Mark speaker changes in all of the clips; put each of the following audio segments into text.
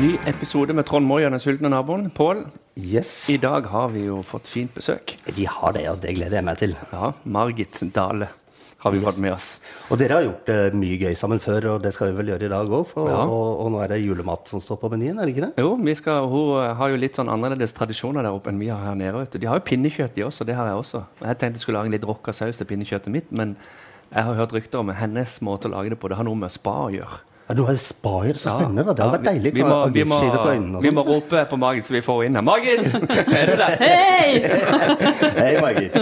Speaker 1: Ny episode med Trond Moi og den sultne naboen. Pål,
Speaker 2: Yes,
Speaker 1: i dag har vi jo fått fint besøk.
Speaker 2: vi har det, og det gleder jeg meg til.
Speaker 1: Ja, Margit Dale har vi fått med oss.
Speaker 2: Og dere har gjort eh, mye gøy sammen før, og det skal vi vel gjøre i dag òg. Og,
Speaker 1: Ja.
Speaker 2: og, og nå er det julemat som står på menyen, er det ikke det?
Speaker 1: Jo, vi skal, Hun eh, har jo litt sånn annerledes tradisjoner der oppe enn vi har her nede. vet du. De har jo pinnekjøtt, de også. Det har jeg også. Jeg tenkte jeg skulle lage en litt rocka saus til pinnekjøttet mitt, men jeg har hørt rykter om hennes måte å lage det på. Det har noe med spa å gjøre.
Speaker 2: Ja, Nå er det spaer, så spennende. da. Det hadde vært
Speaker 1: Ja, vi-
Speaker 2: deilig.
Speaker 1: Vi må, vi, må,
Speaker 2: agurkskiver på øynene og
Speaker 1: vi må
Speaker 2: sånt.
Speaker 1: rope på Margit så vi får henne inn her. Margit! Er du der? Hei!
Speaker 2: sånn. Hei, Margit.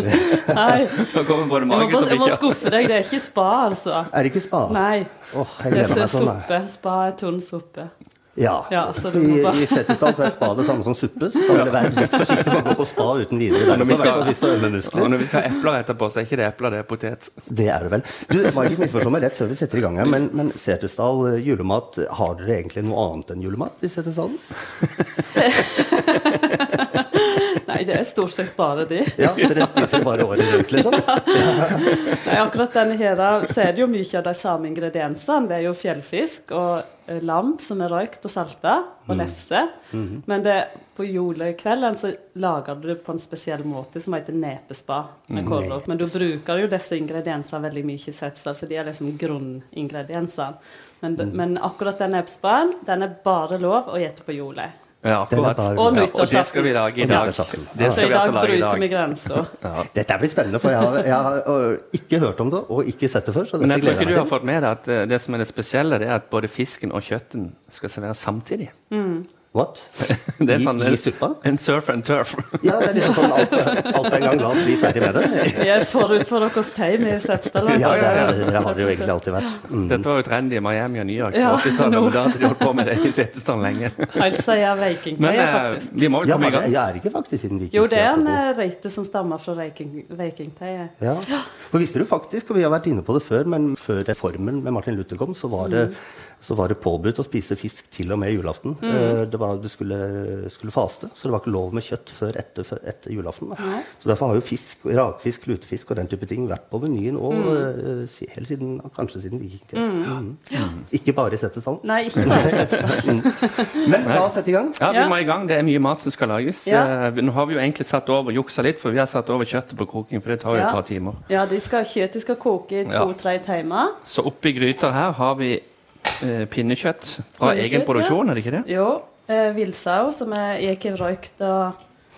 Speaker 3: Nei,
Speaker 1: Nå kommer både
Speaker 3: jeg må,
Speaker 1: Margit og
Speaker 3: bare, jeg må
Speaker 1: Bikkja.
Speaker 3: skuffe deg. Det er ikke spa, altså.
Speaker 2: Er det ikke spa?
Speaker 3: Nei.
Speaker 2: Åh, jeg
Speaker 3: Det er
Speaker 2: gleder meg sånn. jeg.
Speaker 3: suppe. Spa er tunn suppe.
Speaker 2: Ja.
Speaker 3: Ja, så du
Speaker 2: I,
Speaker 3: må bare-
Speaker 2: I Setesdal så er spa det samme som suppe, så da vil jeg være litt forsiktig med å gå på spa uten videre.
Speaker 1: Når
Speaker 2: Derfor,
Speaker 1: vi
Speaker 2: i hvert fall hvis du
Speaker 1: skal,
Speaker 2: øver
Speaker 1: og
Speaker 2: muskler.
Speaker 1: når vi skal ha epler etterpå, så er ikke det epler, det er potet.
Speaker 2: Det er det vel. Du, Margit misforstår meg rett før vi setter i gang her, men, men Setesdal eh, julemat, har dere egentlig noe annet enn julemat i Setesdalen?
Speaker 3: Nei, det er stort sett bare de.
Speaker 2: Ja, dere spiser bare året rundt, liksom?
Speaker 3: Nei, akkurat denne her så er det jo mye av de samme ingrediensene. Det er jo fjellfisk og eh, lam som er røykt og salta, og lefse. Men det, på julekvelden så lager du det på en spesiell måte som heter nepespa. med kålrot. Men du bruker jo disse ingrediensene veldig mye i setstall, så de er liksom grunningrediensene. Men, men akkurat den nepespaen, den er bare lov å gjete på jule.
Speaker 1: Ja,
Speaker 2: Den
Speaker 1: akkurat.
Speaker 2: er bare-
Speaker 1: Ja,
Speaker 3: Og
Speaker 1: og det skal
Speaker 3: nyttårsaften.
Speaker 1: vi lage i
Speaker 2: Og
Speaker 1: dag.
Speaker 2: nyttårsaften.
Speaker 1: Det
Speaker 3: Så
Speaker 1: skal
Speaker 3: i
Speaker 1: vi altså
Speaker 3: dag
Speaker 1: lage i
Speaker 3: bryter vi
Speaker 1: dag.
Speaker 3: grensa.
Speaker 2: Dette blir spennende, for jeg har, jeg har øh, ikke hørt om det, og ikke sett det før. Så
Speaker 1: Men
Speaker 2: dette
Speaker 1: jeg tror
Speaker 2: gleder
Speaker 1: ikke du
Speaker 2: jeg
Speaker 1: har
Speaker 2: meg til.
Speaker 1: fått med deg at eh, det som er det spesielle, det er at både fisken og kjøtten skal serveres samtidig.
Speaker 2: What?
Speaker 1: Det er
Speaker 2: I-
Speaker 1: sånn
Speaker 2: I
Speaker 1: en,
Speaker 2: suppa?
Speaker 1: en surf and turf.
Speaker 2: Ja, det er liksom sånn alt, alt på en gang. La oss bli ferdig med det.
Speaker 3: Vi er forut for deres time i Setesdal.
Speaker 2: Ja, det, er- dere har det jo egentlig alltid vært. Mm.
Speaker 1: Dette var jo trendy i Miami og New York på
Speaker 3: Ja,
Speaker 1: 80-tallet,
Speaker 3: nå.
Speaker 1: men da hadde de holdt på med det i Setesdal lenge.
Speaker 3: Helt siden
Speaker 1: Men
Speaker 3: Vikingtøyet,
Speaker 1: eh,
Speaker 3: faktisk.
Speaker 1: vi må vel komme
Speaker 2: Ja,
Speaker 1: i
Speaker 2: men
Speaker 1: gang.
Speaker 2: jeg er ikke faktisk siden vi gikk
Speaker 3: Jo,
Speaker 2: ut
Speaker 3: det er
Speaker 2: i
Speaker 3: en
Speaker 2: Apropos.
Speaker 3: eh, reite som stammer fra Viking- Vikingtøyet.
Speaker 2: Ja. For visste du faktisk, og vi har vært inne på det før, men før reformen med Martin Luther kom, så var det, så var det påbudt å spise fisk til og med julaften.
Speaker 3: Mm.
Speaker 2: Eh, Det var, du skulle, skulle faste, så det var ikke lov med kjøtt før etter, før etter julaften. Da. Så derfor har jo fisk, rakfisk, lutefisk og den type ting vært på menyen og,
Speaker 3: Mm.
Speaker 2: eh, si- helt siden, kanskje siden vikingtiden. Mm. Ikke bare i Setesdalen.
Speaker 3: Nei, ikke bare Setesdal.
Speaker 2: Men la oss sette i gang.
Speaker 1: Ja, vi
Speaker 3: Ja.
Speaker 1: må i gang. Det er mye mat som skal lages.
Speaker 3: Ja.
Speaker 1: Eh, Nå har vi jo egentlig satt over juksa litt, for vi har satt over kjøttet på kroking, for det tar jo
Speaker 3: Ja.
Speaker 1: et par timer.
Speaker 3: Ja, de skal, kjøttet skal koke i to-tre timer.
Speaker 1: Så oppi gryta her har vi eh, pinnekjøtt fra
Speaker 3: Pinnekjøtt,
Speaker 1: egen produksjon,
Speaker 3: ja.
Speaker 1: er det ikke det?
Speaker 3: Jo, eh, villsaus som er ikke røykt og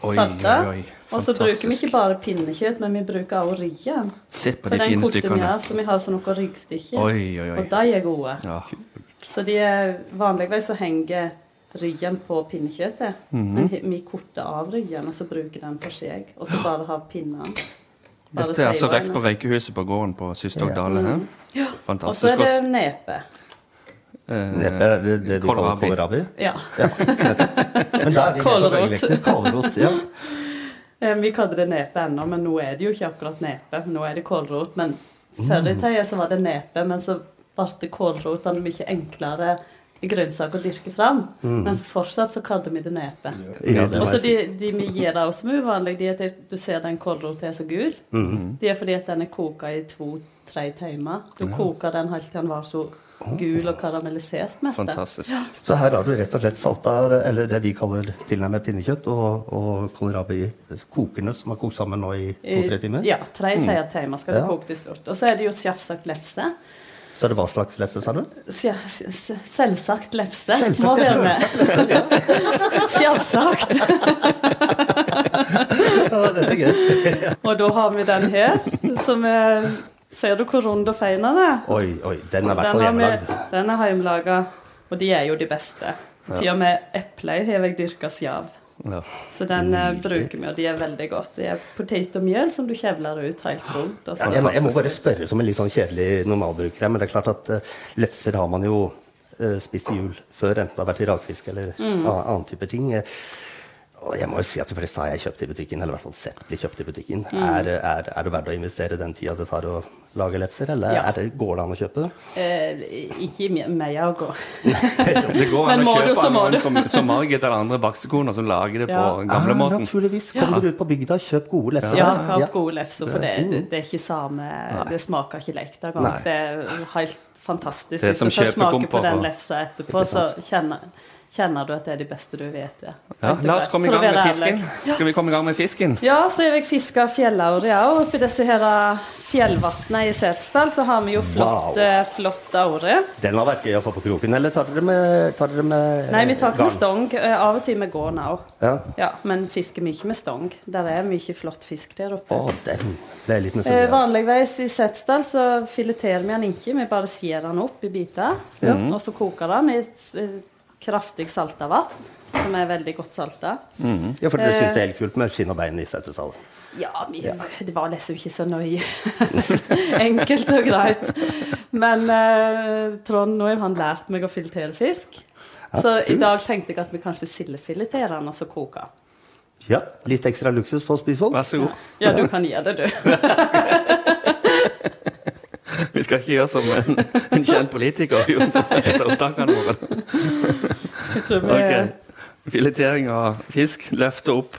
Speaker 1: Oi,
Speaker 3: salta.
Speaker 1: oi, oi.
Speaker 3: Og så
Speaker 1: Fantastisk.
Speaker 3: bruker vi ikke bare pinnekjøtt, men vi bruker også ryggen.
Speaker 1: Se på
Speaker 3: For
Speaker 1: de
Speaker 3: den
Speaker 1: fine
Speaker 3: korter vi
Speaker 1: stykkene.
Speaker 3: av, så vi har sånn noen ryggstykker.
Speaker 1: Oi, oi, oi.
Speaker 3: Og de er gode.
Speaker 1: Ja.
Speaker 3: Så de er vanligvis så henger ryggen på pinnekjøttet. Men
Speaker 1: Mhm.
Speaker 3: he- vi korter av ryggen, og så bruker den for seg. Og så bare har pinnene. Bare
Speaker 1: Dette er altså
Speaker 3: seiver
Speaker 1: røkt på
Speaker 3: den. Mm.
Speaker 1: Røykehuset på gården på Systog
Speaker 2: Ja.
Speaker 1: Dale her.
Speaker 3: Og så
Speaker 1: Fantastisk.
Speaker 3: er
Speaker 1: godt. Eh,
Speaker 3: det nepe.
Speaker 2: Neppe er det, det vi kaller
Speaker 1: Kålrabi.
Speaker 2: kålrabi.
Speaker 3: Ja.
Speaker 2: Men da er vi helt på
Speaker 3: Kålrot.
Speaker 2: bølgelengde. Kålrot. Ja.
Speaker 3: Eh, Vi kaller det nepe ennå, men nå er det jo ikke akkurat nepe. Nå er det kålrot. Men før i
Speaker 1: Mm.
Speaker 3: tida så var det nepe, men så ble kålrotene mye enklere grønnsak å dyrke fram.
Speaker 1: Mm.
Speaker 3: Men så fortsatt så kaller vi det nepe.
Speaker 2: Ja, det
Speaker 3: Og
Speaker 2: var
Speaker 3: så de, de vi gir deg som er uvanlig, de er at du ser den kålroten er så gul.
Speaker 2: Mhm.
Speaker 3: Det er fordi at den er koka i to-tre timer. Du koker den helt til den var så gul og karamellisert mest.
Speaker 1: Fantastisk.
Speaker 2: Så her har du rett og slett salta, eller det vi kaller tilnærmet pinnekjøtt, og, og kålrabi kokende, som har kokt sammen nå i to-tre timer.
Speaker 3: Eh,
Speaker 2: Mm.
Speaker 3: Ja, tre-fire timer skal du
Speaker 2: Ja.
Speaker 3: koke til slutt. Og så er det jo sjafsagt lefse.
Speaker 2: Så er det hva slags lefse, sa du?
Speaker 3: Sja- s- s- Selvsagt lefse.
Speaker 2: Selvsagt,
Speaker 3: Må
Speaker 2: ja,
Speaker 3: være med. Sjølsagt.
Speaker 2: Ja, dette er gøy.
Speaker 3: Og da har vi den her, som er Ser du hvor rund og fin den er?
Speaker 2: Oi, oi, den er i hvert fall
Speaker 3: Den har vi-
Speaker 2: hjemmelagd.
Speaker 3: Den er hjemmelaga, og de er jo de beste. Til og med eple har jeg dyrka sjav.
Speaker 1: Ja.
Speaker 3: Så den eh, bruker vi, og de er veldig godt. Det er potet og mjøl som du kjevler ut helt rundt. Og
Speaker 2: Ja,
Speaker 3: så.
Speaker 2: jeg, må- jeg må bare spørre som en litt sånn kjedelig normalbruker her, men det er klart at eh, lefser har man jo eh, spist i jul før, enten det har vært i rakfisk eller
Speaker 3: Mm.
Speaker 2: a- annen type ting. Eh, Og jeg må jo si at de fleste har jeg kjøpt i butikken, eller i hvert fall sett bli kjøpt i butikken.
Speaker 3: Mm.
Speaker 2: Er, er, er det verdt å investere den tida det tar å lage lepser, eller
Speaker 3: Ja.
Speaker 2: er det, går det an å kjøpe det?
Speaker 3: Eh, ikke i meia å gå.
Speaker 1: Det går
Speaker 3: Men
Speaker 1: an å
Speaker 3: må
Speaker 1: kjøpe
Speaker 3: du, så må
Speaker 1: noen
Speaker 3: du.
Speaker 1: som, som Margit eller andre baksekoner som lager det på
Speaker 3: Ja.
Speaker 1: gamlemåten.
Speaker 2: Ah, naturligvis. Kom dere ut på bygda, kjøp gode lefser.
Speaker 3: Ja,
Speaker 2: Ja.
Speaker 3: kap gode lefser, for det, det, det er ikke samme Det smaker ikke lekt engang.
Speaker 2: Nei.
Speaker 3: Det er helt fantastisk.
Speaker 1: Det er
Speaker 3: Hvis
Speaker 1: som
Speaker 3: du først smaker
Speaker 1: kjøpekomper
Speaker 3: på den
Speaker 1: og-
Speaker 3: lefsa etterpå, så kjenner kjenner du at det er de beste du vet. Ja.
Speaker 1: Ja, la oss komme i
Speaker 3: For å
Speaker 1: gang med
Speaker 3: være
Speaker 1: fisken.
Speaker 3: ærlig.
Speaker 1: Skal vi komme i gang med fisken?
Speaker 3: Ja, så har jeg fiska fjellaure òg. Oppi disse her eh, fjellvatnene i Setesdal så har vi jo
Speaker 2: Wow.
Speaker 3: flott, eh, flott aure.
Speaker 2: Den har vært gøy å få på kroken. Eller tar dere med, tar dere med
Speaker 3: Nei, vi tar ikke
Speaker 2: garn?
Speaker 3: med stong. eh, Av og til med gården òg.
Speaker 2: Ja.
Speaker 3: Ja, men fisker vi ikke med stong. Der er mye flott fisk der
Speaker 2: Å,
Speaker 3: oppe.
Speaker 2: den ble jeg litt
Speaker 3: Eh,
Speaker 2: misunnelig.
Speaker 3: Vanligvis i Setesdal så fileterer vi den ikke. Vi bare skjærer den opp i biter. Og så koker den i s- eh, kraftig salta vann, som er veldig godt salta.
Speaker 2: av. Ja, for dere
Speaker 3: Eh.
Speaker 2: syns det er helt kult med skinn og bein i setesal.
Speaker 3: Ja, vi, det var liksom ikke så nøye. Enkelt og greit. Men eh, Trond nå har han lært meg å filetere fisk. Så i dag tenkte jeg at vi kanskje sildefileterer den og så koker. den.
Speaker 2: Ja, litt ekstra luksus på sånn. Spisvoll.
Speaker 1: Vær så god.
Speaker 3: Ja, du kan gjøre det, du.
Speaker 1: Vi skal ikke gjøre som en, en kjent politiker. Vi etter opptakene våre.
Speaker 3: Jeg tror vi
Speaker 1: Ok. Filetering av fisk. Løfte opp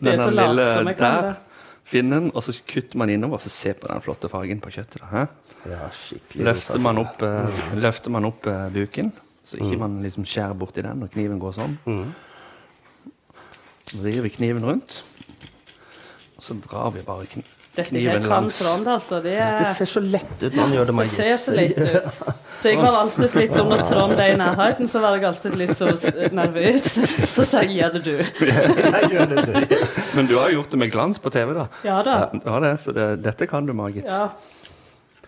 Speaker 3: Det er
Speaker 1: denne
Speaker 3: til å late
Speaker 1: lille
Speaker 3: som jeg kan
Speaker 1: der.
Speaker 3: det.
Speaker 1: Finnen, og så kutter man innover, så se på den flotte fargen på kjøttet. da, hæ?
Speaker 2: Ja, skikkelig
Speaker 1: Løfter man opp, eh, løfter man opp eh, buken, så ikke man liksom skjærer borti den, og kniven går sånn. Vrir vi kniven rundt, og så drar vi bare kn
Speaker 3: Dette her
Speaker 1: kniven
Speaker 3: kan
Speaker 1: langs.
Speaker 3: Trond, altså. Det,
Speaker 2: Det ser så lett ut når man gjør det
Speaker 3: det
Speaker 2: med
Speaker 3: ser så lett ut. Så jeg var alltid litt sånn når Trond er i nærheten, så var jeg alltid litt så s- nervøs. Så sa jeg 'gjør det, du'.
Speaker 2: Jeg gjør det, du.
Speaker 1: Men du har jo gjort det med glans på TV, da.
Speaker 3: Ja da.
Speaker 1: Ja, det, så det, dette kan du, Margit.
Speaker 3: Ja.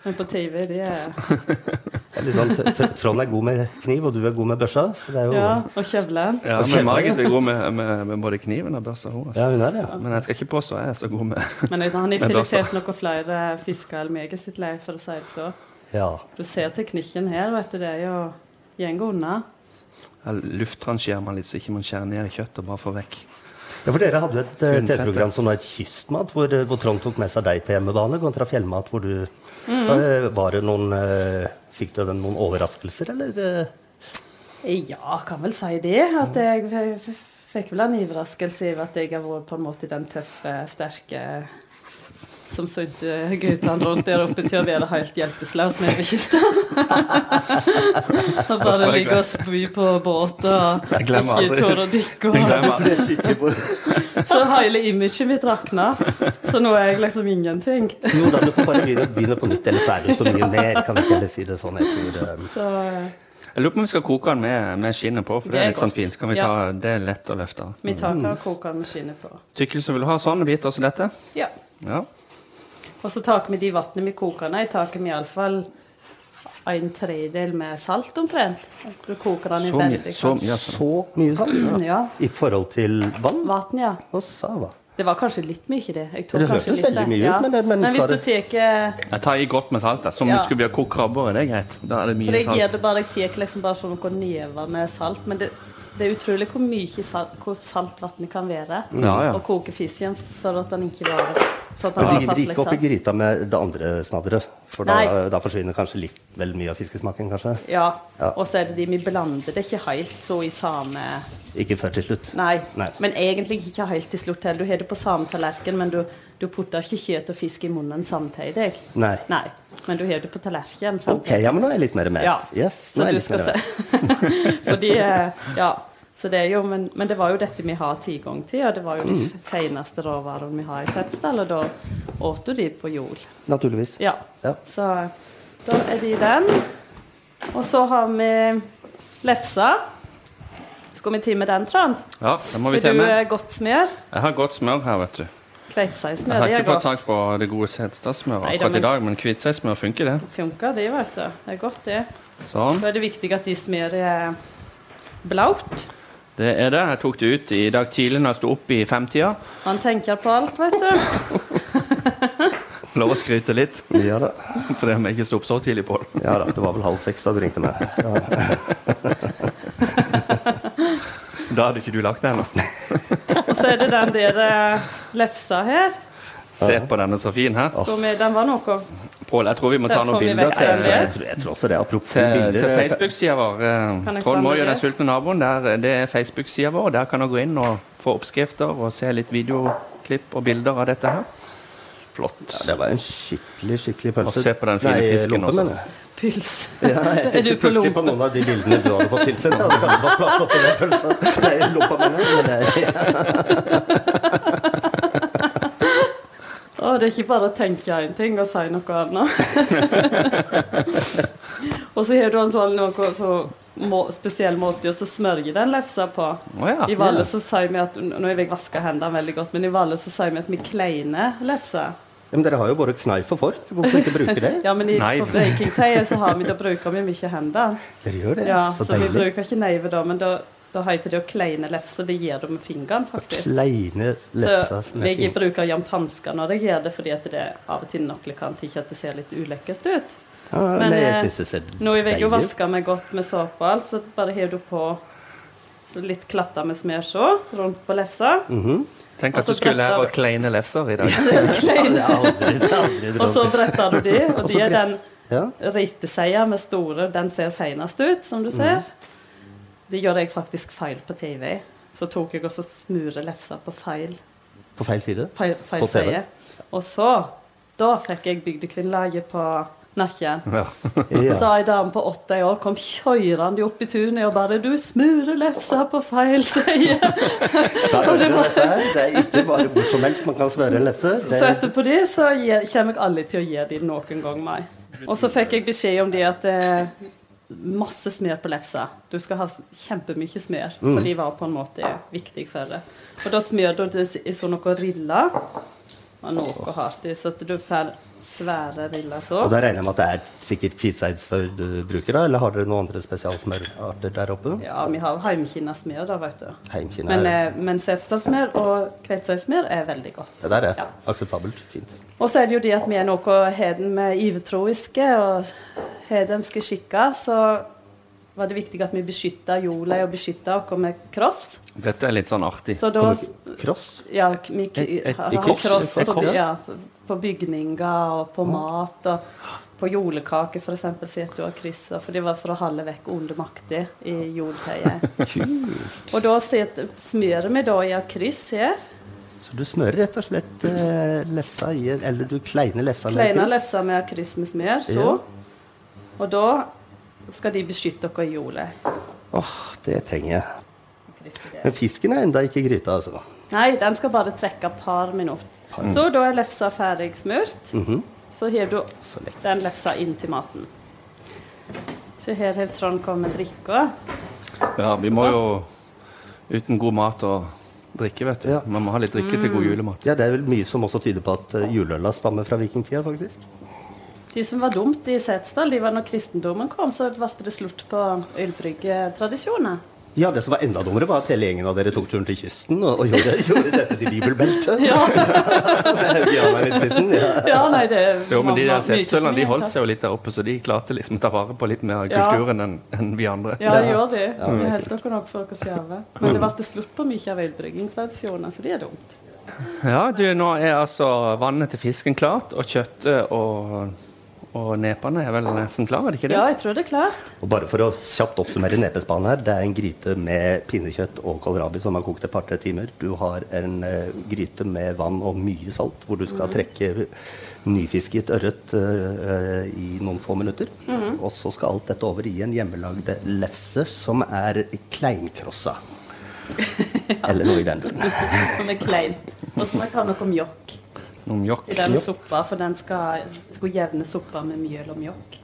Speaker 3: Men på TV, det er
Speaker 2: Det er litt sånn, Tr- Tr- Trond er god med kniv, og du er god med børsa. Så det er jo
Speaker 3: Ja, og kjevlen.
Speaker 1: Ja, men Margit er god med, med, med både kniven og børsa. hun, altså.
Speaker 2: Ja, hun er det, ja.
Speaker 1: Men jeg skal ikke påstå jeg er så god med
Speaker 3: Men uten han har
Speaker 1: Men altså-
Speaker 3: filetert noen flere fisker enn meg i sitt liv, for å si det så.
Speaker 2: ja.
Speaker 3: Du ser teknikken her, vet du, det er jo gjengen unna.
Speaker 1: Jeg luftrangerer man litt, så ikke man skjærer ned i kjøttet og bare får vekk.
Speaker 2: Ja, for Dere hadde et eh,
Speaker 1: Kun fett, ja.
Speaker 2: TV-program som var et kystmat, hvor, eh, hvor Trond tok med seg deg på hjemmebane kontra fjellmat. hvor du...
Speaker 3: Mm.
Speaker 2: Eh, Var det noen eh, Fikk du den noen overraskelser, eller? eh?
Speaker 3: Ja, kan vel si det. At jeg f- f- fikk vel en overraskelse over at jeg har vært på en måte den tøffe, sterke som så ikke guttene rundt der oppe til å være helt hjelpeløse nede ved kysten. og bare ligge og spy på båt og
Speaker 1: Jeg glemmer aldri.
Speaker 3: ikke tåre å dykke. og-
Speaker 1: Glemmer.
Speaker 3: Så hele imaget mitt rakna. Så nå er jeg liksom ingenting.
Speaker 2: Jo da, du får bare begynne, begynne på nytt, eller så er det jo så mye mer. Kan vi ikke heller si det sånn? Jeg tror, eh,
Speaker 3: Så eh,
Speaker 1: Jeg lurer på om vi skal koke den med, med skinnet på, for det
Speaker 3: Det
Speaker 1: er
Speaker 3: er
Speaker 1: litt sånn
Speaker 3: godt.
Speaker 1: fint. Kan vi ta, Det er lett å løfte.
Speaker 3: vi tar ikke og koker med skinnet på.
Speaker 1: Tykkelse vil du ha sånne biter som dette?
Speaker 3: Ja.
Speaker 1: Ja.
Speaker 3: Og så tar vi de vannene vi koker ned, tar vi iallfall en tredjedel med salt omtrent. Du koker den i
Speaker 1: Så mye.
Speaker 3: veldig
Speaker 1: Så
Speaker 3: kaldt.
Speaker 1: mye altså.
Speaker 2: Så mye sånn.
Speaker 3: Mm, Ja.
Speaker 2: I forhold til vann
Speaker 3: Vann, ja.
Speaker 2: og sava.
Speaker 3: Det var kanskje litt mye, det. Jeg tok
Speaker 2: Det
Speaker 3: kanskje
Speaker 2: hørtes
Speaker 3: litt,
Speaker 2: veldig mye ut,
Speaker 3: ja.
Speaker 2: men det- men
Speaker 3: hvis
Speaker 2: skal
Speaker 3: du tar
Speaker 1: Jeg tar i godt med salt. da. Som om
Speaker 3: Ja.
Speaker 1: det skulle bli kokt krabber. Det er greit. Da er det
Speaker 3: For
Speaker 1: mye
Speaker 3: jeg gjør
Speaker 1: salt.
Speaker 3: det bare, jeg tar liksom bare sånn noen never med salt. Men det, det er utrolig hvor mye salt, hvor salt vannet kan være.
Speaker 1: Ja, ja.
Speaker 3: Og koke fisken for at den ikke varer. Så at den
Speaker 2: Men
Speaker 3: bare
Speaker 2: driver de ikke
Speaker 3: passer litt
Speaker 2: opp i
Speaker 3: salt.
Speaker 2: gryta med det andre snadderet? For da,
Speaker 3: Nei.
Speaker 2: da forsvinner kanskje litt vel mye av fiskesmaken, kanskje?
Speaker 3: Ja.
Speaker 2: Ja.
Speaker 3: Og så er det de vi blander det ikke helt så i samme
Speaker 2: Ikke før til slutt.
Speaker 3: Nei.
Speaker 2: Nei.
Speaker 3: Men egentlig ikke helt til slutt heller. Du har det på samme tallerken, men du, du putter ikke kjøtt og fisk i munnen samtidig.
Speaker 2: Nei.
Speaker 3: Men du har det på tallerken
Speaker 2: Ok,
Speaker 3: samtidig.
Speaker 2: ja, men nå er jeg litt mer med.
Speaker 3: Ja.
Speaker 2: Yes,
Speaker 3: så
Speaker 2: nå er
Speaker 3: du
Speaker 2: jeg litt
Speaker 3: skal
Speaker 2: mer
Speaker 3: se.
Speaker 2: med.
Speaker 3: Fordi eh, Ja. Så det er jo, men, men det var jo dette vi har tilgang til, og det var jo
Speaker 2: Mm.
Speaker 3: de fineste råvarene vi har i Setesdal, og da åt jo de på jord.
Speaker 2: Naturligvis.
Speaker 3: Ja.
Speaker 2: Ja.
Speaker 3: Så da er de den. Og så har vi lefsa. Skal vi til med den, Trond?
Speaker 1: Ja, det må vi
Speaker 3: Vil
Speaker 1: til
Speaker 3: du
Speaker 1: med.
Speaker 3: eh, godt smør?
Speaker 1: Jeg har godt smør her, vet du. Jeg
Speaker 3: Kveitseigsmør,
Speaker 1: har
Speaker 3: det
Speaker 1: ikke
Speaker 3: er
Speaker 1: fått
Speaker 3: godt.
Speaker 1: tak på det gode Setesdalssmøret
Speaker 3: Neida,
Speaker 1: akkurat i
Speaker 3: men-
Speaker 1: dag, men hvitseigsmør funker, det.
Speaker 3: Funker det, vet du. Det er godt, det.
Speaker 1: Sånn.
Speaker 3: Da er det viktig at de eh, smøret er blaut.
Speaker 1: Det er det. Jeg tok det ut i dag tidlig når jeg sto opp i femtida.
Speaker 3: Man tenker på alt, vet du.
Speaker 1: Lov å skryte litt,
Speaker 2: Ja da.
Speaker 1: fordi vi ikke sto opp så tidlig på det.
Speaker 2: ja da. Det var vel halv seks da du ringte meg. Ja.
Speaker 1: Da hadde ikke du lagt deg ennå.
Speaker 3: Og så er det den der eh, lefsa her.
Speaker 1: Se på denne så fin her.
Speaker 3: Skal vi- Den var noe.
Speaker 1: Pål, jeg tror vi må ta
Speaker 3: Der
Speaker 1: noen
Speaker 3: får vi
Speaker 1: bilder
Speaker 3: vekk
Speaker 1: til,
Speaker 3: den der.
Speaker 2: Jeg, tror, jeg tror også det. Apropos
Speaker 1: til, til
Speaker 2: bilder.
Speaker 1: Facebook-sida vår. eh,
Speaker 3: Kan jeg
Speaker 1: Trond
Speaker 3: stemme
Speaker 1: Moi og
Speaker 3: det?
Speaker 1: Den sultne naboen, der, eh, det er Facebook-sida vår. Der kan du gå inn og få oppskrifter og se litt videoklipp og bilder av dette her. Flott.
Speaker 2: Ja, det var en skikkelig, skikkelig
Speaker 1: Og
Speaker 2: pølse.
Speaker 1: se på den fine fisken
Speaker 2: lompe,
Speaker 1: også.
Speaker 2: mener jeg.
Speaker 3: Pils.
Speaker 2: Ja, jeg
Speaker 3: Er du
Speaker 2: tenkte
Speaker 3: på
Speaker 2: plutselig på
Speaker 3: lompe?
Speaker 2: noen av de bildene du hadde fått tilsendt. Jeg hadde kanskje fått plass oppi den pølsa. Nei, lompa mener jeg, men det er-
Speaker 3: Å, det er ikke bare å tenke én ting og si noe annet. og så har du en sånn noe så må, spesiell måte å smørge den lefsa på.
Speaker 1: Å ja.
Speaker 3: I Valle så sier vi at Nå har jeg vaska hendene veldig godt, men i Valle så sier vi at vi kleiner lefser.
Speaker 2: Ja, Men dere har jo både kneif og fork. Hvorfor ikke bruke det?
Speaker 3: Ja, men i,
Speaker 1: Nei.
Speaker 3: på bakingtøyet så har vi, da bruker vi mye hender.
Speaker 2: Dere gjør det.
Speaker 3: Ja,
Speaker 2: så
Speaker 3: så vi
Speaker 2: deilig.
Speaker 3: bruker ikke neve da, men da, da heter det å kleine lefser. Det gjør du med fingeren, faktisk.
Speaker 2: Kleine
Speaker 3: Så
Speaker 2: lefser. med
Speaker 3: jeg
Speaker 2: fingre.
Speaker 3: bruker jevnt hansker når jeg gjør det, fordi at det av og til nok kan til at det ser litt ulekkert ut.
Speaker 2: Ja,
Speaker 3: Men,
Speaker 2: nei, jeg
Speaker 3: eh,
Speaker 2: syns det ser
Speaker 3: Nå har jeg jo
Speaker 2: deilig ut.
Speaker 3: vaska meg godt med såpe, og alt, så bare har du på så litt klatter med smørså rundt på lefsa.
Speaker 2: Mhm.
Speaker 1: Tenk at
Speaker 3: Og så
Speaker 1: du skulle
Speaker 3: bretter-
Speaker 1: lære å kleine lefser i dag.
Speaker 2: Det er aldri- det er aldri
Speaker 3: Og så bretter du de, og
Speaker 2: Og så
Speaker 3: de er
Speaker 2: bret-
Speaker 3: den
Speaker 2: Ja.
Speaker 3: riteseia med store, den ser feinest ut, som
Speaker 2: Mhm.
Speaker 3: du ser. Det gjør jeg faktisk feil på TV. Så tok jeg også smure lefsa på feil
Speaker 2: På feil side.
Speaker 3: feil, feil
Speaker 2: På TV.
Speaker 3: side. Og så, da fikk jeg bygdekvinnelaget på nakken.
Speaker 1: Ja.
Speaker 2: Ja.
Speaker 3: Så ei dame på åtte år kom kjørende opp i tunet og bare 'Du smurer lefsa på feil side.'
Speaker 2: Da gjør dere dette her. Det er ikke bare hvor som helst man kan smøre en lefse.
Speaker 3: Så
Speaker 2: Det,
Speaker 3: etterpå det så gir- kommer jeg aldri til å gi dem noen gang mer. Og så fikk jeg beskjed om det at eh, masse smør på lefsa. Du skal ha s- kjempemye smør,
Speaker 2: Mm.
Speaker 3: for de var på en måte viktig for det. Og da smør du det s- i sånn noe riller og noe hardt i, så at du får svære riller så.
Speaker 2: og da regner jeg med at det er sikkert hvitseidsfør du bruker, da? eh, Eller har dere noen andre spesialsmørarter der oppe?
Speaker 3: Ja, vi har heimkinna smør da, vet du.
Speaker 2: Heimkinna
Speaker 3: Men,
Speaker 2: er-
Speaker 3: eh, men setesdalsmør og kveitseismør er veldig godt.
Speaker 2: Det der er
Speaker 3: Ja.
Speaker 2: akseptabelt. Fint.
Speaker 3: Og så er det jo det at vi er noe heden med ivetroiske og hedenske skikker, så var det viktig at vi beskytta jorda og beskytta oss med kross.
Speaker 1: Dette er litt sånn artig.
Speaker 3: Så da
Speaker 2: Kommer ikke- Kross?
Speaker 3: ja, vi k-
Speaker 1: Et- et-
Speaker 3: har
Speaker 1: et
Speaker 3: har
Speaker 1: kross,
Speaker 3: kross
Speaker 1: et
Speaker 3: på, by-
Speaker 1: kross.
Speaker 3: ja, på bygninger og på mat og på julekaker, f.eks. sier at du har kryssa, for det var for å holde vekk onde makter i jordtøyet. Og da set- smører vi da i et kryss her.
Speaker 2: Så du smører rett og slett eh, lefsa i en Eller du kleiner lefsa med
Speaker 3: Kleina
Speaker 2: kryss.
Speaker 3: lefser med et kryss med smør, så. Og da skal de beskytte dere i jorda.
Speaker 2: Åh, det trenger jeg.
Speaker 3: Kryss i det.
Speaker 2: Men fisken er enda ikke i gryta, altså.
Speaker 3: Nei, den skal bare trekke et par minutter.
Speaker 2: Mm.
Speaker 3: Så da er lefsa ferdig smurt. Så har du
Speaker 2: Mhm. Så lekkert.
Speaker 3: den lefsa inn til maten. Så her har Trond kommet drikka.
Speaker 1: Ja, vi må jo uten god mat og drikke, vet du.
Speaker 2: Ja.
Speaker 1: Man må ha litt drikke til
Speaker 3: Mm.
Speaker 1: god julemat.
Speaker 2: Ja, det er vel mye som også tyder på at eh, juleøla stammer fra vikingtida, faktisk.
Speaker 3: De som var dumt i Setesdal, de var når kristendommen kom, så ble det slutt på ølbryggetradisjoner.
Speaker 2: Ja, det som var enda dummere, var at hele gjengen av dere tok turen til kysten og, og gjorde, gjorde dette til bibelbeltet.
Speaker 3: Ja.
Speaker 2: Med Hauge Hamar i spissen. Ja.
Speaker 3: Ja, nei, det
Speaker 1: Jo, men de der
Speaker 3: var mye som
Speaker 1: settsølene de
Speaker 3: gikk
Speaker 1: holdt
Speaker 3: her.
Speaker 1: seg jo litt der oppe, så de klarte liksom å ta vare på litt mer av
Speaker 3: Ja.
Speaker 1: kulturen enn enn vi andre.
Speaker 3: Ja, de gjør det.
Speaker 2: Ja, det
Speaker 3: Vi
Speaker 2: er
Speaker 3: holdt dere nok for dere sjøl. Men det ble slutt på mye av ølbryggingtradisjoner, så det er dumt.
Speaker 1: Ja, du, nå er altså vannet til fisken klart, og kjøttet og, og nepene er vel nesten klar, er det ikke det?
Speaker 3: Ja, jeg tror det er klart.
Speaker 2: Og bare for å kjapt oppsummere nepespanen her, det er en gryte med pinnekjøtt og kålrabi som har kokt et par-tre timer. Du har en eh, gryte med vann og mye salt, hvor du skal trekke nyfisket ørret eh, eh, i noen få minutter.
Speaker 3: Mhm.
Speaker 2: Og så skal alt dette over i en hjemmelagd lefse som er kleinkrossa. Eller noe i den duren.
Speaker 3: Som Sånn er kleint. Og så må jeg ha noe mjokk
Speaker 1: Noen mjokk.
Speaker 3: i den soppa, for den skal, skal jevne soppa med mjøl og mjokk.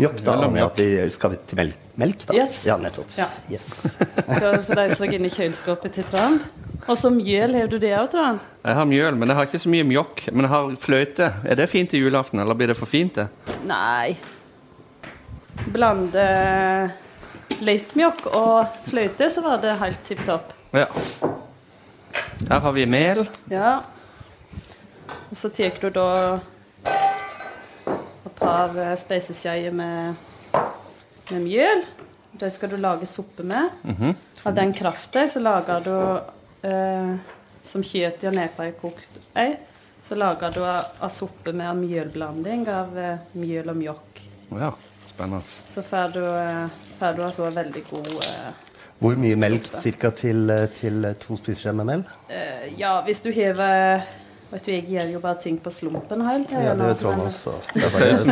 Speaker 2: Mjokk, da. aner jeg at vi Skal vi til melk, melk da?
Speaker 3: Yes.
Speaker 2: Ja, nettopp.
Speaker 3: Ja.
Speaker 2: Yes.
Speaker 3: Så, så de slår inn i kjøleskapet til Trond. Og så mjøl har du det òg, Trond.
Speaker 1: Jeg har mjøl, men jeg har ikke så mye mjokk. Men jeg har fløyte. Er det fint til julaften, eller blir det for fint, det?
Speaker 3: Nei. Blande litt mjokk og fløyte, så var det helt tipp topp.
Speaker 1: Ja. Her har vi mel.
Speaker 3: Ja. Og så tar du da et par eh, spiseskjeer med, med mjøl. Det skal du lage suppe med. Av den kraften så lager du eh, Som kjøttet og nepa er kokt ei, så lager du av av suppe med en mjølblanding av eh, mjøl og mjokk.
Speaker 1: Å Ja, spennende.
Speaker 3: Så får du, eh, får du altså en veldig god eh,
Speaker 2: Hvor mye melk cirka til, eh, til eh, to spiseskjeer med mel?
Speaker 3: Eh, ja, hvis du hever Vet du, jeg gir jo bare ting på slumpen hele tiden
Speaker 2: Ja, det
Speaker 3: nå,
Speaker 2: er Trondheim.
Speaker 3: men-
Speaker 2: så-
Speaker 1: Sausen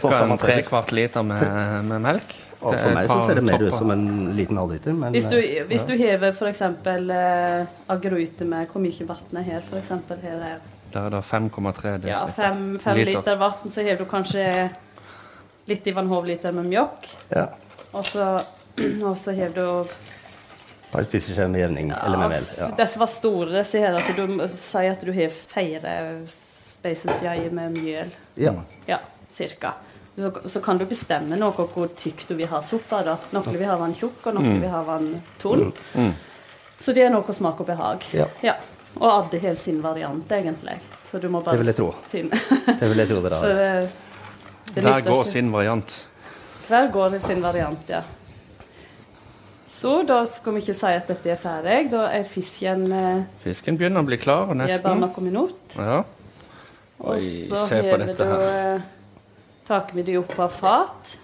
Speaker 2: På
Speaker 1: ca.
Speaker 2: samme
Speaker 1: en
Speaker 2: trekk.
Speaker 1: trekvart liter med, med melk.
Speaker 2: Og
Speaker 1: Det
Speaker 2: for
Speaker 1: er
Speaker 2: meg
Speaker 1: et
Speaker 2: så
Speaker 1: par
Speaker 2: ser det mer ut
Speaker 1: topper.
Speaker 2: som en liten halvliter. Men
Speaker 3: Hvis du,
Speaker 2: eh,
Speaker 3: hvis du hever f.eks. Eh, agurute med hvor mye vann er her, f.eks. Her er
Speaker 1: Der er det 5,3 dl.
Speaker 3: ja, fem, fem
Speaker 1: Liter.
Speaker 3: liter, vann, så hever du kanskje litt i vannhovliter med mjølk.
Speaker 2: eh, ja,
Speaker 3: Og så, og så hever du
Speaker 2: bare spiser seg med jevning. eller med mel. Ja.
Speaker 3: Disse var store, disse her. Altså, du må si at du har fire spaces jai med mjøl.
Speaker 2: Ja.
Speaker 3: Ja, cirka. Så, så kan du bestemme noe hvor tykk du vil ha suppa. da. Noen vil ha den tjukk, og
Speaker 2: Mm.
Speaker 3: noen vil ha den tunn. Så det er noe smak og behag.
Speaker 2: Ja.
Speaker 3: Og Adde har sin variant, egentlig. Så du må bare
Speaker 2: Det vil jeg tro.
Speaker 3: finne
Speaker 2: Det vil jeg tro dere har.
Speaker 3: Så det, det
Speaker 1: Der
Speaker 3: nytter
Speaker 1: går
Speaker 3: ikke.
Speaker 1: sin variant.
Speaker 3: Hver går sin variant, ja. Så da skal vi ikke si at dette er ferdig. Da er fisken eh,
Speaker 1: Fisken begynner å bli klar, og
Speaker 3: gir bare
Speaker 1: nesten.
Speaker 3: noen minutter.
Speaker 1: Ja. Oi,
Speaker 3: Og så
Speaker 1: se på
Speaker 3: hever
Speaker 1: dette
Speaker 3: du
Speaker 1: her.
Speaker 3: eh, Tar vi det opp av fat.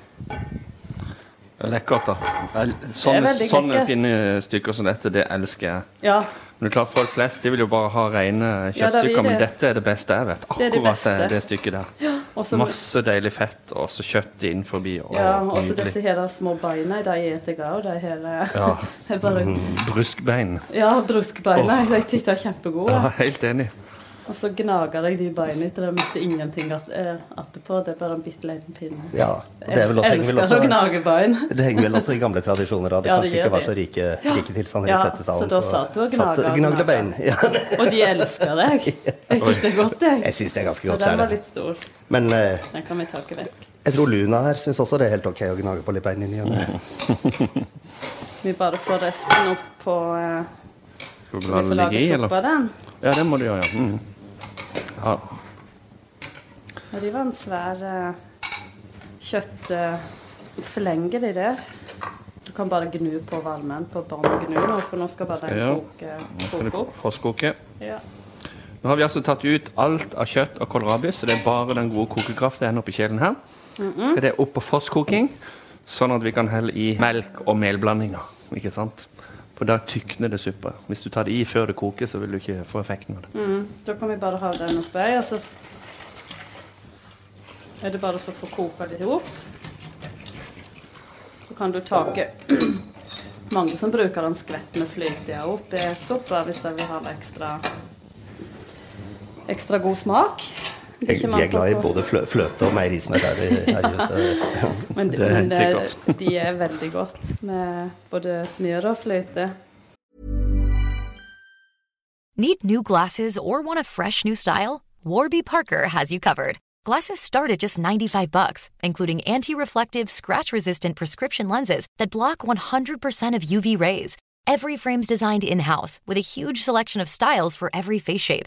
Speaker 1: Lekkert, da. Jeg- Sånne,
Speaker 3: veldig
Speaker 1: sånne
Speaker 3: lekkert.
Speaker 1: fine stykker som dette, det elsker jeg.
Speaker 3: Ja,
Speaker 1: Men det er klart, Folk flest de vil jo bare ha rene
Speaker 3: Ja, det er
Speaker 1: kjøttstykker,
Speaker 3: det.
Speaker 1: men dette er det beste jeg vet.
Speaker 3: Det er
Speaker 1: Akkurat
Speaker 3: det
Speaker 1: det,
Speaker 3: beste.
Speaker 1: det stykket der.
Speaker 3: og så
Speaker 1: Masse deilig fett og så kjøtt innenfor. Og
Speaker 3: Ja, og så disse
Speaker 1: nydelig.
Speaker 3: her små beina, de eter jeg òg. De her eh,
Speaker 1: Ja,
Speaker 3: er bare
Speaker 2: Mm.
Speaker 1: Bruskbein.
Speaker 3: Ja, bruskbeina. Jeg syns de er kjempegode.
Speaker 1: Ja, helt enig.
Speaker 3: Og så gnager jeg de beina til det mister ingenting att- eh, attpå. Det er bare en bitte liten pinne.
Speaker 2: Ja. og Det, er vel også, henger vel
Speaker 3: Elsker å
Speaker 2: også,
Speaker 3: gnage bein.
Speaker 2: det henger vel også i gamle tradisjoner at det
Speaker 3: Ja, det
Speaker 2: kanskje
Speaker 3: gjør
Speaker 2: ikke var
Speaker 3: det.
Speaker 2: så rike, rike tilstander
Speaker 3: Ja,
Speaker 2: i settesalen.
Speaker 3: så da satt du og
Speaker 2: satt-
Speaker 3: gnaga og
Speaker 2: gnagde
Speaker 3: gnaga.
Speaker 2: bein. Ja,
Speaker 3: Og de elsker deg. Jeg syns det er godt,
Speaker 2: jeg
Speaker 3: jeg.
Speaker 2: syns det er ganske godt.
Speaker 3: Og den
Speaker 2: så
Speaker 3: var
Speaker 2: er det.
Speaker 3: litt stor.
Speaker 2: Men eh,
Speaker 3: Den kan vi ta ikke vekk.
Speaker 2: jeg tror Luna her syns også det er helt ok å gnage på litt bein inni. Mm.
Speaker 3: Vi bare får resten opp på eh,
Speaker 1: Skal vi
Speaker 3: så
Speaker 1: la
Speaker 3: Vi
Speaker 1: den
Speaker 3: får
Speaker 1: ligge
Speaker 3: lage
Speaker 1: i,
Speaker 3: suppe
Speaker 1: eller?
Speaker 3: av den.
Speaker 1: Ja, det må du gjøre, ja. Mm. ja.
Speaker 3: Og det var en svær eh, uh, kjøttflenge i det. Du kan bare gnu på varmen på bånn gnu nå, for nå skal bare den
Speaker 1: Ja.
Speaker 3: koke,
Speaker 1: Nå skal
Speaker 3: koke
Speaker 1: du
Speaker 3: opp.
Speaker 1: frostkoke.
Speaker 3: Ja.
Speaker 1: Nå har vi altså tatt ut alt av kjøtt og kålrabi, så det er bare den gode kokekraften igjen oppi kjelen her. Skal det opp på frostkoking, sånn at vi kan helle i melk og melblandinger. Ikke sant? For da tykner det suppa. Hvis du tar det i før det koker, så vil du ikke få effekten av det.
Speaker 3: Mm. Da kan vi bare ha den oppi, og så er det bare så å få koke det ihop. Så kan du take Mange som bruker en skvett med flyte opp i suppa hvis de vil ha ekstra, ekstra god smak.
Speaker 2: Jeg,
Speaker 3: Ikke
Speaker 2: jeg er
Speaker 3: manko
Speaker 2: glad i
Speaker 3: på-
Speaker 2: både flø, fløte og meierismør her i her i huset.
Speaker 3: Men,
Speaker 1: Det er helt
Speaker 3: men det,
Speaker 1: sikkert.
Speaker 3: de er veldig godt med både smør og fløte.
Speaker 4: Need new glasses or want a fresh new style? Warby Parker has you covered. Glasses start at just 95 bucks, including anti-reflective, scratch-resistant prescription lenses that block 100% of UV rays. Every frame's designed in-house with a huge selection of styles for every face shape.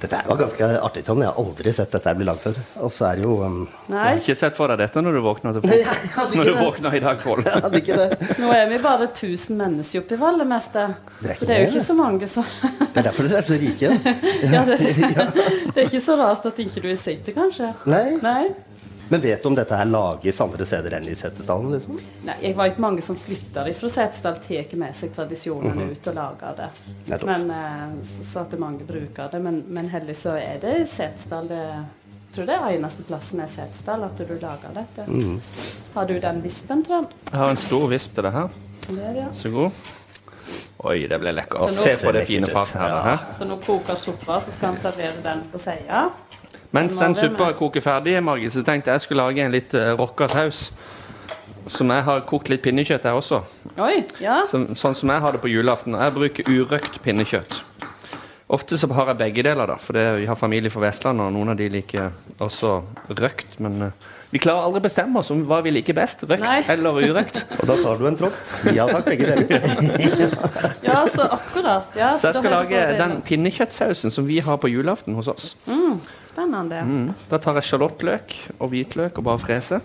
Speaker 2: Dette her var ganske artig, Tom. Jeg har aldri sett dette her bli lagd før. Og så er det jo um,
Speaker 1: Du har
Speaker 3: Nei,
Speaker 1: ikke sett for deg dette når du våkner til
Speaker 2: Nei,
Speaker 1: frokost?
Speaker 2: jeg hadde
Speaker 1: Når du
Speaker 2: ikke det.
Speaker 1: våkner i dag, Pål.
Speaker 2: Jeg hadde ikke det.
Speaker 3: nå er vi bare 1000 mennesker oppe i Vallemeste.
Speaker 2: Det er ikke
Speaker 3: Det er jo
Speaker 2: det.
Speaker 3: ikke så mange som
Speaker 2: Det er derfor dere er så rike.
Speaker 3: ja, det, det er ikke så rart at ikke du er sitter, kanskje.
Speaker 2: Nei.
Speaker 3: Nei.
Speaker 2: Men vet du om dette her lages andre steder enn i Setesdalen? Liksom?
Speaker 3: Nei, jeg vet mange som flytter fra Setesdal, tar med seg tradisjonene ut og lager det.
Speaker 2: Mhm. Nettopp.
Speaker 3: Men, eh, så, så at det mange bruker det. Men, men heller så er det i Setesdal det jeg tror det er eneste plassen er Setesdal at du lager dette.
Speaker 2: Mhm.
Speaker 3: Har du den vispen, Trond?
Speaker 1: Jeg har en stor visp til det her.
Speaker 3: Det er det, ja.
Speaker 1: Så god. Oi, det ble lekkert.
Speaker 3: Så nå-
Speaker 1: Se på det
Speaker 2: Ser
Speaker 1: fine
Speaker 2: lekkert ut.
Speaker 1: fatet
Speaker 2: Ja.
Speaker 1: her.
Speaker 3: Så nå koker suppa, så skal han servere den på seia.
Speaker 1: Mens
Speaker 3: Den
Speaker 1: den
Speaker 3: var det
Speaker 1: suppa
Speaker 3: med.
Speaker 1: koker ferdig, Margit, så tenkte jeg jeg skulle lage en litt eh, rocka saus. Som jeg har kokt litt pinnekjøtt her også.
Speaker 3: Oi, ja.
Speaker 1: Som, sånn som jeg har det på julaften. Jeg bruker urøkt pinnekjøtt. Ofte så har jeg begge deler, da, for det, vi har familie fra Vestlandet, og noen av de liker også røkt. Men eh, vi klarer aldri å bestemme oss om hva vi liker best, røkt
Speaker 3: Nei.
Speaker 1: eller urøkt.
Speaker 2: Og da tar du en tropp. Ja takk, begge deler.
Speaker 3: ja, så akkurat. Ja,
Speaker 1: Så jeg
Speaker 3: da
Speaker 1: skal
Speaker 3: har du
Speaker 1: lage
Speaker 3: fått det.
Speaker 1: den pinnekjøttsausen som vi har på julaften hos oss.
Speaker 3: Spennende.
Speaker 1: Mm. Da tar jeg sjalottløk og hvitløk og bare freser.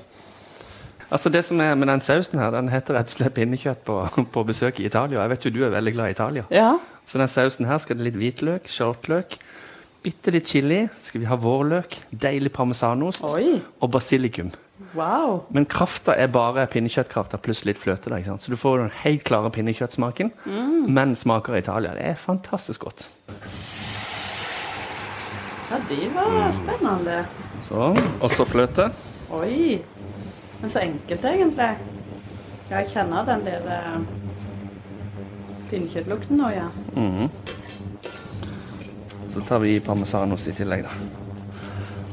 Speaker 1: Altså det som er med den sausen her, den heter rett og slett pinnekjøtt på, på besøk i Italia. Jeg vet jo du er veldig glad i Italia.
Speaker 3: Ja.
Speaker 1: Så den sausen her skal det litt hvitløk, sjaltløk, bitte litt chili, skal vi ha vårløk, deilig parmesanost
Speaker 3: Oi.
Speaker 1: og basilikum.
Speaker 3: Wow.
Speaker 1: Men krafta er bare pinnekjøttkrafta pluss litt fløte. da, ikke sant? Så du får den helt klare pinnekjøttsmaken,
Speaker 3: Mm.
Speaker 1: men smaker Italia. Det er fantastisk godt.
Speaker 3: Ja, de
Speaker 1: Mm.
Speaker 3: var spennende.
Speaker 1: Sånn. Og så fløte.
Speaker 3: Oi. Men så enkelt, egentlig. Ja, jeg kjenner den der eh, pinnekjøttlukten nå, ja.
Speaker 1: Så tar vi parmesanost i tillegg, da.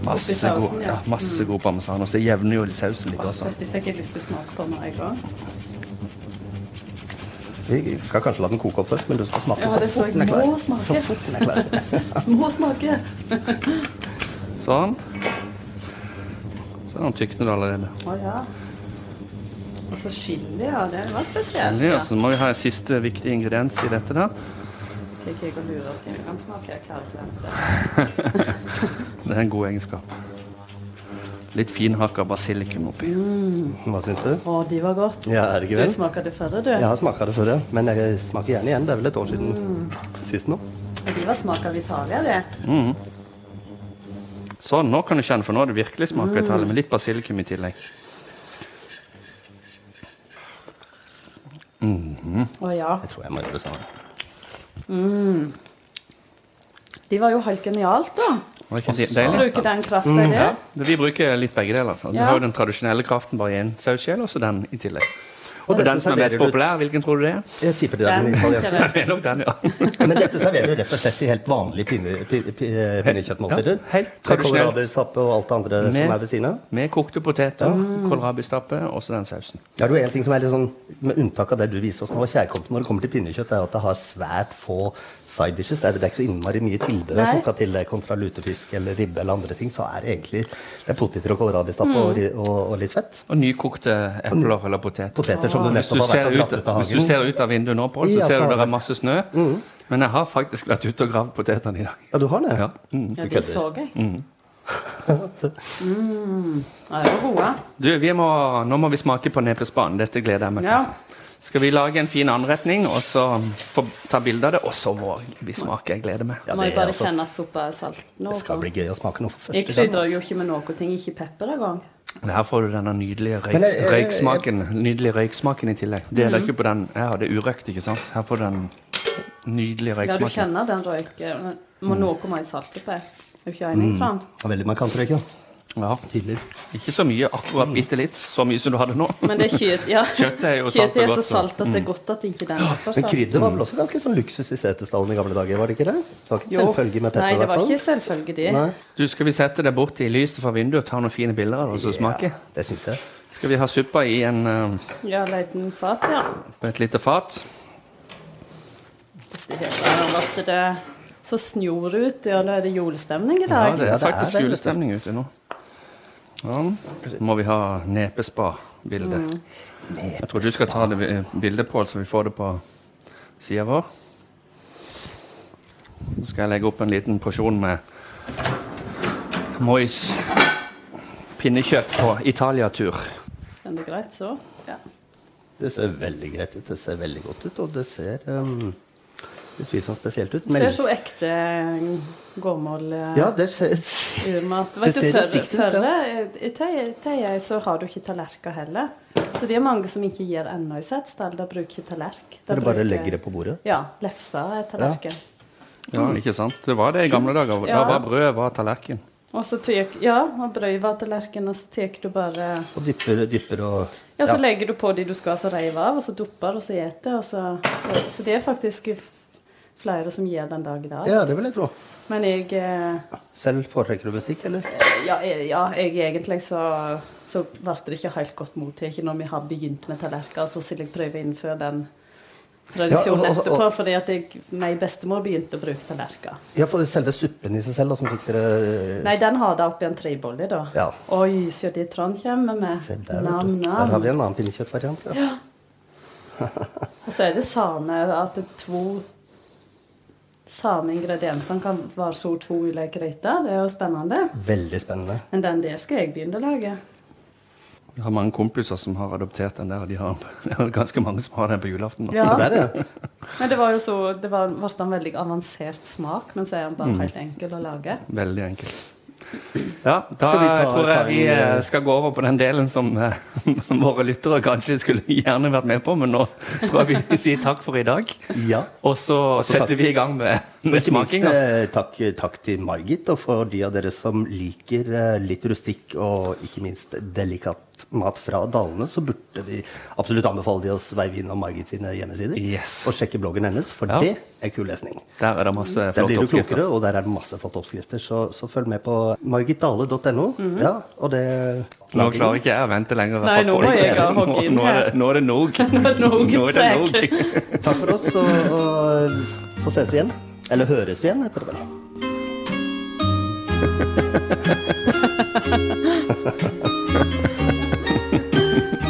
Speaker 1: Masse,
Speaker 3: Oppi sausen,
Speaker 1: god,
Speaker 3: ja.
Speaker 1: ja, masse god parmesanost. Det jevner jo sausen litt også.
Speaker 3: Dette fikk jeg lyst til å smake på nå, jeg òg.
Speaker 2: Vi skal kanskje la den koke opp først, men du skal smake
Speaker 3: Ja, det
Speaker 2: så
Speaker 3: så
Speaker 2: fort
Speaker 3: jeg
Speaker 2: den er
Speaker 3: må
Speaker 2: klar. Så
Speaker 3: smake.
Speaker 2: fort den er klar.
Speaker 3: Må smake.
Speaker 1: Sånn. Så er den tyknet allerede.
Speaker 3: Å ja. Og så chili, ja. Det var spesielt.
Speaker 1: Ja,
Speaker 3: Ja.
Speaker 1: så må vi ha en siste viktig ingrediens i dette. da.
Speaker 3: Fikk jeg å lure på jeg kan smake. Jeg klarer ikke det.
Speaker 1: Det er en god egenskap. Litt finhakka basilikum oppi.
Speaker 2: Hva syns du?
Speaker 3: Å, de var godt.
Speaker 2: Ja, er det ikke
Speaker 3: Du
Speaker 2: vel?
Speaker 3: smaker det før, du.
Speaker 2: Jeg har smaka det før, ja. Men jeg smaker gjerne igjen. Det er vel et år siden sist nå.
Speaker 3: De var smak av Italia, det.
Speaker 1: Sånn, nå kan du kjenne, for nå har det virkelig smaka Italia, med litt basilikum i tillegg.
Speaker 3: Å ja.
Speaker 2: Jeg tror jeg må gjøre det samme.
Speaker 3: De var jo helt genialt, da.
Speaker 1: Var ikke det deilig?
Speaker 3: Bruke den
Speaker 2: Mm,
Speaker 3: kraften i det.
Speaker 1: Ja, det- vi bruker litt begge deler. Så. Du
Speaker 3: Ja.
Speaker 1: har jo den tradisjonelle kraften bare i en sauskjel, og så den i tillegg.
Speaker 2: Og
Speaker 1: Og
Speaker 2: dette
Speaker 1: den som er mest
Speaker 2: serverer du-
Speaker 1: populær, hvilken tror du det er?
Speaker 2: Jeg tipper det er den italienske.
Speaker 1: Det er nok den, ja.
Speaker 2: Men dette serverer du rett og slett i helt vanlige pinne- pi- pi- eh, pinnekjøttmåltider.
Speaker 1: Ja, helt
Speaker 2: Med
Speaker 1: tradisjonelt.
Speaker 2: kålrabistappe og alt det andre som
Speaker 1: Med-
Speaker 2: er ved siden av.
Speaker 1: Med kokte poteter,
Speaker 2: Ah.
Speaker 1: kålrabistappe og så den sausen.
Speaker 2: Ja, det er jo en ting som er litt sånn, Med unntak av det du viser oss nå, kjærkomst når det kommer til pinnekjøtt, er jo at det har svært få side dishes. Det er, det er ikke så innmari mye tilbehør
Speaker 3: Nei.
Speaker 2: som skal til eh, kontra lutefisk eller ribbe eller andre ting. Så er det egentlig det er poteter og kålrabistappe
Speaker 3: Mm.
Speaker 2: og, ri- og, og litt fett.
Speaker 1: Og nykokte epler eller poteter.
Speaker 2: Poteter som du
Speaker 1: Hvis du,
Speaker 2: nettopp har
Speaker 1: ser
Speaker 2: vært og
Speaker 1: ut,
Speaker 2: dratt ut av
Speaker 1: hvis du
Speaker 2: hagen. altså. Mm.
Speaker 1: ser ut av vinduet nå, Pål, så
Speaker 2: Ja,
Speaker 1: ser
Speaker 2: så
Speaker 1: du
Speaker 2: har
Speaker 1: det er
Speaker 2: vi-
Speaker 1: masse snø. Men jeg har faktisk vært ute og gravd potetene i dag.
Speaker 2: Ja, du har det?
Speaker 1: Ja.
Speaker 3: Ja,
Speaker 2: Du
Speaker 3: de
Speaker 2: kødder.
Speaker 3: så jeg. Mm. Ja, de var gode.
Speaker 1: Du, vi må, nå må vi smake på nepespanen. Dette gleder jeg meg til.
Speaker 3: Ja.
Speaker 1: Skal vi lage en fin anretning og så få ta bilde av det, og så må vi smake? Jeg gleder meg.
Speaker 2: Ja,
Speaker 3: Må
Speaker 2: det,
Speaker 3: jeg
Speaker 2: er
Speaker 3: bare
Speaker 2: altså,
Speaker 3: kjenne at suppa er salt. Nå,
Speaker 2: det skal bli gøy å smake noe for
Speaker 3: jeg
Speaker 2: første gang.
Speaker 3: krydrer jo
Speaker 2: altså.
Speaker 3: ikke med noe ting, ikke pepper engang.
Speaker 1: Her får du denne nydelige røyk,
Speaker 2: Men eh, Mm. jeg- jeg- jeg-
Speaker 1: røyksmaken Nydelige røyksmaken i tillegg. Det er det ikke på den jeg har det er urøkt, ikke sant? Her får du den nydelige
Speaker 3: Ja, du
Speaker 1: røyksmaken.
Speaker 3: kjenner den røyken. men
Speaker 2: Mm.
Speaker 3: Må noe må jeg salte på. Er du ikke enig, Trond?
Speaker 2: Det er Veldig markant røyk, ja.
Speaker 1: Ja,
Speaker 2: Tydelig.
Speaker 1: Ikke så mye, akkurat bitte litt. Så mye som du hadde nå.
Speaker 3: Men det er kjøtt, ja.
Speaker 1: Kjøttet er jo salt og
Speaker 3: Kjøttet er
Speaker 1: godt, Mm.
Speaker 3: så
Speaker 1: så.
Speaker 3: salt at det er godt at ikke den er for
Speaker 2: Men
Speaker 3: salt.
Speaker 2: krydder var vel også ganske sånn luksus i Setesdalen i gamle dager, var det ikke det? Det var ikke
Speaker 3: Jo.
Speaker 2: selvfølgelig med pepper,
Speaker 3: Nei,
Speaker 2: i
Speaker 3: det
Speaker 2: hvert
Speaker 3: var
Speaker 2: fall.
Speaker 3: ikke selvfølge, de.
Speaker 2: Nei.
Speaker 1: Du, Skal vi sette det bort i lyset fra vinduet og ta noen fine bilder av det og så smake?
Speaker 2: Ja, det syns jeg.
Speaker 1: Skal vi ha suppa i en, eh,
Speaker 3: Ja, leiten fat, ja.
Speaker 1: på et lite fat?
Speaker 3: Det hele at det så snor ut, ja, nå er det julestemning i
Speaker 1: Ja,
Speaker 3: dag.
Speaker 1: det
Speaker 2: Ja,
Speaker 1: er
Speaker 2: det er
Speaker 1: faktisk
Speaker 2: det, vet du.
Speaker 1: julestemning ute nå. Sånn. Så må vi ha nepespa-bilde.
Speaker 2: Mm.
Speaker 1: Jeg tror du skal ta det vi- bildet, Pål, så vi får det på sida vår. Så skal jeg legge opp en liten porsjon med Mois pinnekjøtt på Italia-tur.
Speaker 3: Er det greit så? Ja.
Speaker 2: Det ser veldig greit ut. Det ser veldig godt ut, og det ser um, utvilsomt spesielt ut.
Speaker 3: Ser så ekte gammel eh,
Speaker 2: ja, det ser, ser
Speaker 3: urmat.
Speaker 2: Det
Speaker 3: Vet du,
Speaker 2: ser
Speaker 3: før,
Speaker 2: riktig ut,
Speaker 3: før eh,
Speaker 2: ja.
Speaker 3: i Tei- Tei så har du ikke tallerkener heller. Så det er mange som ikke gir ennå i Setesdal. De bruker ikke tallerk. De
Speaker 2: Dere bare
Speaker 3: bruker-
Speaker 2: legger det på bordet.
Speaker 3: Ja. Lefsa er tallerken.
Speaker 1: Ja, ikke sant? Det var det i gamle dager. Det
Speaker 3: Ja.
Speaker 1: var brød, var tallerken.
Speaker 3: Og så tek, ja, og brød var tallerken, og så tek du bare
Speaker 2: Og dypper, dypper og
Speaker 3: Ja, så legger du på de du skal, så reiv av, og så dupper, og så eter, og så, så Så det er faktisk f- flere som gjør den dag i dag.
Speaker 2: Ja, det vil jeg tro.
Speaker 3: Men jeg eh,
Speaker 2: Selv foretrekker du bestikk, eller?
Speaker 3: Ja, jeg, ja, jeg egentlig så så ble det ikke helt godt mottatt når vi har begynt med tallerkener, så skulle jeg prøve å innføre den tradisjonen
Speaker 2: Ja, og- og-
Speaker 3: etterpå,
Speaker 2: og-
Speaker 3: fordi at jeg, nei, bestemor begynte å bruke tallerkener.
Speaker 2: Ja, for selve suppen i seg selv, åssen fikk dere
Speaker 3: Nei, den har det oppi en trebolle, da.
Speaker 2: Ja.
Speaker 3: Oi, se det Trond kommer
Speaker 2: Se,
Speaker 3: med.
Speaker 2: der, vet
Speaker 3: Nam,
Speaker 2: du. der
Speaker 3: nam.
Speaker 2: har vi en annen pinnekjøttvariant. Ja.
Speaker 3: Og så er det samme at det er to samme ingredienser kan være så to ulike retter. Det er jo spennende.
Speaker 2: Veldig spennende.
Speaker 3: Men den der skal jeg begynne å lage.
Speaker 1: Jeg har mange kompiser som har adoptert den der. og De har, det er ganske mange som har den på julaften. nå.
Speaker 3: Ja.
Speaker 2: Det er det.
Speaker 3: Men det var jo så Det var, ble en veldig avansert smak, men så er
Speaker 2: Mm.
Speaker 3: den bare helt enkel å lage.
Speaker 1: Veldig enkelt. Ja, da
Speaker 2: Skal vi ta-
Speaker 1: tror
Speaker 2: ta
Speaker 1: jeg
Speaker 2: en,
Speaker 1: vi eh,
Speaker 2: eh,
Speaker 1: skal gå over på den delen som eh, våre lyttere kanskje skulle gjerne vært med på, men nå prøver vi å si takk for i dag.
Speaker 2: Ja.
Speaker 1: Og så setter
Speaker 2: takk.
Speaker 1: vi i gang med, med
Speaker 2: Ikke minst,
Speaker 1: smakinga.
Speaker 2: eh, takk, takk til Margit, og for de av dere som liker eh, litt rustikk og ikke minst delikat mat fra dalene, så burde vi absolutt anbefale de å sveive innom Margit sine hjemmesider
Speaker 1: Yes.
Speaker 2: og sjekke bloggen hennes, for
Speaker 1: Ja.
Speaker 2: det er kul lesning.
Speaker 1: Der er det masse
Speaker 2: Der
Speaker 1: flotte
Speaker 2: blir du klokere,
Speaker 1: oppskrifter.
Speaker 2: og der er det masse flotte oppskrifter, så, så følg med på margitdale.no. ja, og det
Speaker 1: Mhm. Nå klarer ikke jeg å vente lenger.
Speaker 3: Nei, nå må
Speaker 1: Folk-
Speaker 3: jeg ha hogg inn
Speaker 1: nå, nå er det-
Speaker 3: her.
Speaker 1: nå er det nog.
Speaker 3: Nog
Speaker 1: Nå er det
Speaker 3: preg.
Speaker 1: nog.
Speaker 2: Takk for oss, og, og eh, så ses vi igjen. Eller høres vi igjen, heter det vel.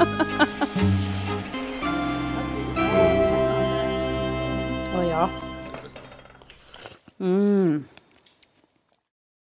Speaker 3: Å ja.